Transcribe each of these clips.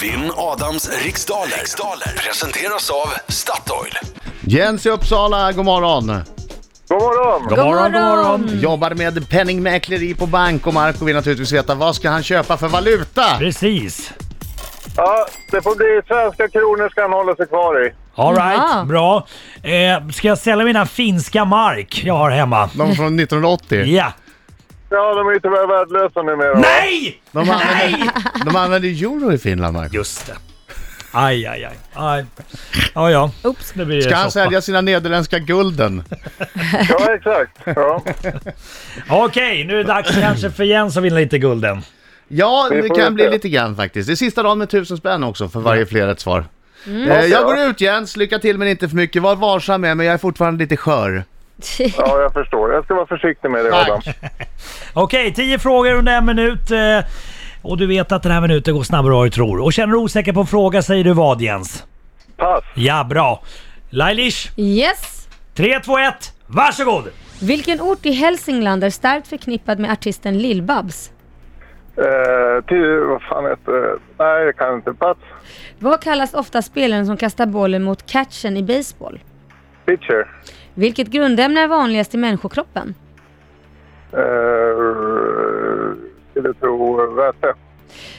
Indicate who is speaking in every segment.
Speaker 1: Vinn Adams riksdaler. riksdaler presenteras av Statoil.
Speaker 2: Jens i Uppsala, god morgon.
Speaker 3: God morgon!
Speaker 4: God morgon, god morgon.
Speaker 2: Jobbar med penningmäkleri på bank och Marco vill naturligtvis veta vad ska han köpa för valuta?
Speaker 4: Precis.
Speaker 3: Ja, det får bli svenska kronor ska han hålla sig kvar i.
Speaker 4: All right,
Speaker 5: Ja.
Speaker 4: bra. Eh, ska jag sälja mina finska mark jag har hemma?
Speaker 2: De från 1980.
Speaker 4: Ja.
Speaker 3: Ja, de är ju tyvärr värdelösa numera. va?
Speaker 4: Nej!
Speaker 2: De använder, de använder euro i Finland, Marco.
Speaker 4: Just det. Aj, aj, aj. aj. Ja, ja.
Speaker 5: Oops.
Speaker 4: Det blir
Speaker 2: Ska han
Speaker 4: soppa.
Speaker 2: sälja sina nederländska gulden?
Speaker 3: Ja, exakt. Ja.
Speaker 4: Okej, nu är det dags kanske för Jens att vinna lite gulden.
Speaker 2: Ja,
Speaker 3: Vi
Speaker 2: det
Speaker 3: får
Speaker 2: kan
Speaker 3: väl
Speaker 2: bli
Speaker 3: se.
Speaker 2: lite grann faktiskt. Det är sista dagen med tusen spänn också för varje fler rätt svar. Eh, jag går ut Jens, lycka till men inte för mycket. Var varsam med mig, jag är fortfarande lite skör.
Speaker 3: ja, jag förstår. Jag ska vara försiktig med det,
Speaker 2: Tack.
Speaker 3: Adam.
Speaker 4: Okej, tio frågor under en minut. eh, Och du vet att den här minuten går snabbare än vad du tror. Och känner du osäker på en fråga säger du vad Jens?
Speaker 3: Pass.
Speaker 4: Ja, bra. Lailish,
Speaker 5: Yes.
Speaker 4: 3, 2, 1, varsågod!
Speaker 5: Vilken ort i Hälsingland är starkt förknippad med artisten Lill-Babs?
Speaker 3: Eh, till, vad fan heter det? Nej, jag kan inte. Pass.
Speaker 5: Vad kallas ofta spelaren som kastar bollen mot catchen i baseball?
Speaker 3: Pitcher.
Speaker 5: Vilket grundämne är vanligast i människokroppen?
Speaker 3: Eh, skulle tro väte.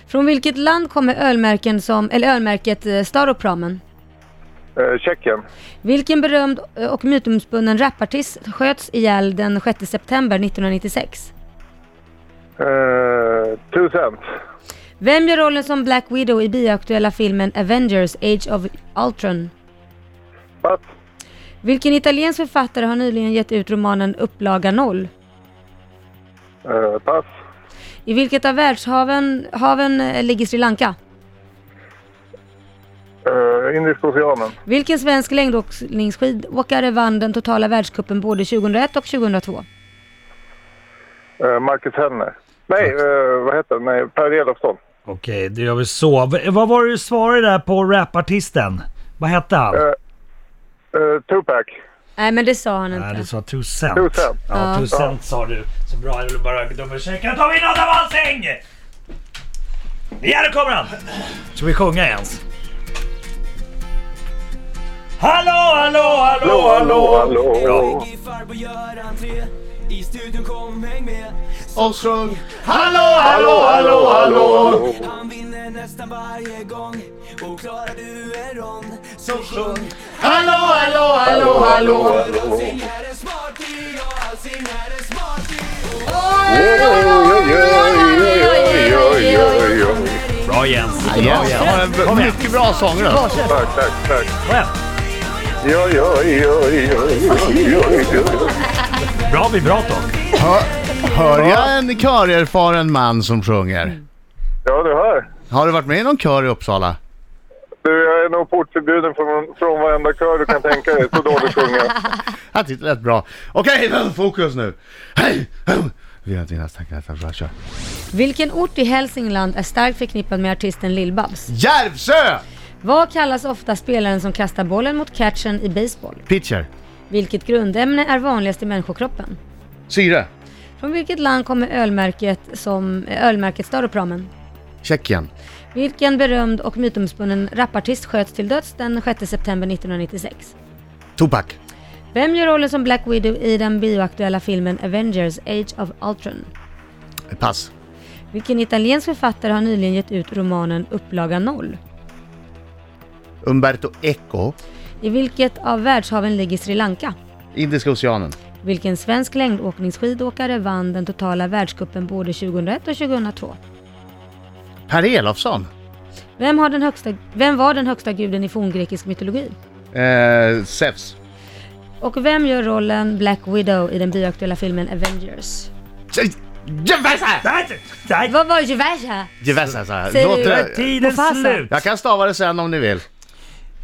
Speaker 5: Från vilket land kommer ölmärken som, eller ölmärket eh, Staropramen?
Speaker 3: Eh, Tjeckien.
Speaker 5: Vilken berömd eh, och mytomspunnen rapartist sköts ihjäl den 6 september 1996?
Speaker 3: Eh, two cent.
Speaker 5: Vem gör rollen som Black Widow i bioaktuella filmen Avengers Age of Ultron?
Speaker 3: Pass.
Speaker 5: Vilken italiensk författare har nyligen gett ut romanen Upplaga noll?
Speaker 3: Eh, pass.
Speaker 5: I vilket av världshaven haven, eh, ligger Sri Lanka?
Speaker 3: Eh, Indiska oceanen.
Speaker 5: Vilken svensk längdåkningsskidåkare vann den totala världscupen både 2001 och 2002?
Speaker 3: Eh, Marcus Henner. Nej, eh, vad heter det? Nej, Per Elofsson.
Speaker 4: Okej, det gör vi så. V- vad var det du svarade där på rapartisten? Vad hette han?
Speaker 3: Eh, Eh, Tupac.
Speaker 5: Nej, men det sa han
Speaker 4: Nej, du
Speaker 5: inte.
Speaker 4: sa 2 cent.
Speaker 3: Two cent.
Speaker 4: Ja,
Speaker 5: Ja.
Speaker 4: 2 cent sa du. Så bra, jag ville bara dubbelchecka. Ta in Adam Alsing! Ja, nu kommer han! Ska vi sjunga ens? Hallå, hallå, hallå, hallå!
Speaker 3: hallå.
Speaker 6: Farbror gör entré I studion kom häng med
Speaker 2: Och sjung!
Speaker 4: Hallå, hallå, hallå, hallå!
Speaker 6: Han vinner nästan varje gång Och klarar du en rond Så sjung
Speaker 4: Hallå, hallå, hallå, hallå!
Speaker 6: Allsing här är smarty Ja, allsing här är smarty
Speaker 4: Bra Jens!
Speaker 2: Jens har en
Speaker 4: Kom
Speaker 2: b-
Speaker 4: igen.
Speaker 2: mycket bra sångröst.
Speaker 3: Tack, tack, tack.
Speaker 4: Kom igen.
Speaker 3: Jo, jo, jo, jo, jo, jo, jo.
Speaker 4: Bra vibrato!
Speaker 2: Hör jag en körerfaren man som sjunger?
Speaker 3: Ja, du hör.
Speaker 2: Har du varit med i någon kör i Uppsala?
Speaker 3: Du, jag är nog portförbjuden från, från varenda kör du kan tänka dig. Så dåligt sjunger jag.
Speaker 2: Han tyckte det lät bra. Okej, men fokus nu! Hej! hej. Vi har dina tankar för bra kör.
Speaker 5: Vilken ort i Hälsingland är starkt förknippad med artisten Lill-Babs?
Speaker 2: Järvsö!
Speaker 5: Vad kallas ofta spelaren som kastar bollen mot catchen i baseball?
Speaker 2: Pitcher.
Speaker 5: Vilket grundämne är vanligast i människokroppen?
Speaker 2: Syre.
Speaker 5: Från vilket land kommer ölmärket som eh, ölmärket Staropramen?
Speaker 2: Tjeckien.
Speaker 5: Vilken berömd och mytomspunnen rapartist sköts till döds den 6 september 1996?
Speaker 2: Tupac.
Speaker 5: Vem gör rollen som Black Widow i den bioaktuella filmen Avengers Age of Ultron?
Speaker 2: Pass.
Speaker 5: Vilken italiensk författare har nyligen gett ut romanen Upplaga noll?
Speaker 2: Umberto Eco.
Speaker 5: I vilket av världshaven ligger Sri Lanka?
Speaker 2: Indiska oceanen.
Speaker 5: Vilken svensk längdåkningsskidåkare vann den totala världscupen både 2001 och 2002?
Speaker 2: Per Elofsson.
Speaker 5: Vem, har den högsta, vem var den högsta guden i forngrekisk mytologi?
Speaker 2: Eh, Zeus.
Speaker 5: Och vem gör rollen Black Widow i den bioaktuella filmen Avengers?
Speaker 2: Jevessa!
Speaker 4: Där! Där!
Speaker 5: Vad var Juvasha?
Speaker 2: Jevessa så här.
Speaker 5: Säger
Speaker 2: Låter
Speaker 5: du-
Speaker 4: Där är
Speaker 2: det...
Speaker 4: tiden
Speaker 5: Mufasa.
Speaker 4: slut!
Speaker 2: Jag kan stava det sen om ni vill.
Speaker 4: Tiden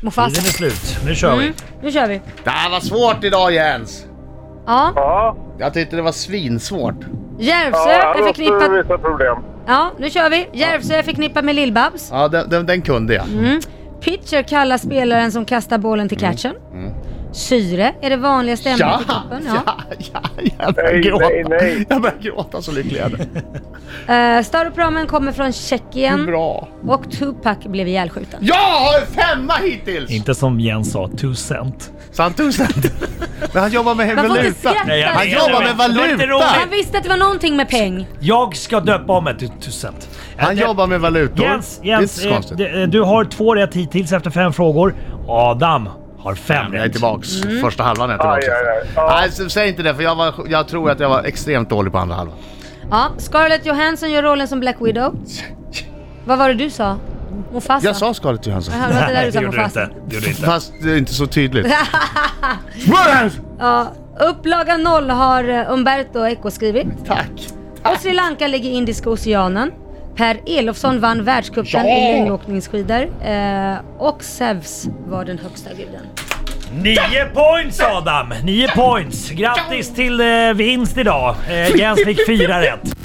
Speaker 4: är
Speaker 5: Mufasa.
Speaker 4: slut. Nu kör vi.
Speaker 5: Mm, nu kör vi.
Speaker 2: Det här var svårt idag Jens.
Speaker 5: Ja,
Speaker 3: Ja,
Speaker 2: Jag tyckte det var svinsvårt.
Speaker 5: Järvsö
Speaker 3: ja här
Speaker 5: är
Speaker 3: låter det
Speaker 5: förknippat...
Speaker 3: vissa problem.
Speaker 5: Ja, nu kör vi. Järvsö är förknippat med Lill-Babs. Mm.
Speaker 2: Ja, den, den, den kunde jag.
Speaker 5: Pitcher kallar spelaren som kastar bollen till catchen. Syre är det vanligaste ämnet
Speaker 2: Ja,
Speaker 5: i
Speaker 2: Mm. ja,
Speaker 5: kroppen. Ja.
Speaker 2: ja, jag börjar
Speaker 3: Nej,
Speaker 2: gråta.
Speaker 3: nej, nej.
Speaker 2: Jag börjar gråta så lycklig jag är.
Speaker 5: Eh, Staropramen kommer från Tjeckien
Speaker 2: Bra.
Speaker 5: och Tupac blev ihjälskjuten.
Speaker 2: Jag har en femma hittills!
Speaker 4: Inte som Jens sa, two cent.
Speaker 2: Santusent. Men han jobbar med
Speaker 5: Man får inte
Speaker 2: valuta.
Speaker 5: skratta.
Speaker 4: Nej, jag
Speaker 2: Han
Speaker 4: vet,
Speaker 2: jobbar
Speaker 4: jag
Speaker 2: med
Speaker 4: vet. Det var inte
Speaker 2: valuta!
Speaker 5: Han visste att det var någonting med peng.
Speaker 4: Jag ska döpa om mig till two cent.
Speaker 2: Han
Speaker 4: Eh,
Speaker 2: jobbar med valutor.
Speaker 4: Jens,
Speaker 2: det är
Speaker 4: Jens
Speaker 2: inte så
Speaker 4: eh,
Speaker 2: konstigt.
Speaker 4: d- eh, du har två rätt hittills efter fem frågor. Adam har fem
Speaker 2: Jag är
Speaker 4: rätt.
Speaker 2: tillbaks.
Speaker 5: Mm.
Speaker 2: Första halvan är jag tillbaks.
Speaker 3: Aj, aj, aj. Ja.
Speaker 2: Nej, så säg inte det för jag, var, jag tror att jag var extremt dålig på andra halvan.
Speaker 5: Ja, Scarlett Johansson gör rollen som Black Widow. Vad var det du sa? Mufasa?
Speaker 2: Jag sa Scarlett Johansson.
Speaker 5: Jaha, det var inte där du sa
Speaker 4: det gjorde du
Speaker 5: Mufasa.
Speaker 4: inte. Det gjorde du inte.
Speaker 2: Fast det är inte så tydligt.
Speaker 5: Ja, upplaga noll har eh, Umberto Eco skrivit.
Speaker 2: Tack!
Speaker 5: Och Sri Lanka ligger i Indiska oceanen. Per Elofsson vann världscupen i längdåkningsskidor. Eh, och Zeus var den högsta guden.
Speaker 4: Nio points Adam! Nio points! Grattis till eh, vinst idag. Eh, Jens fick fyra rätt.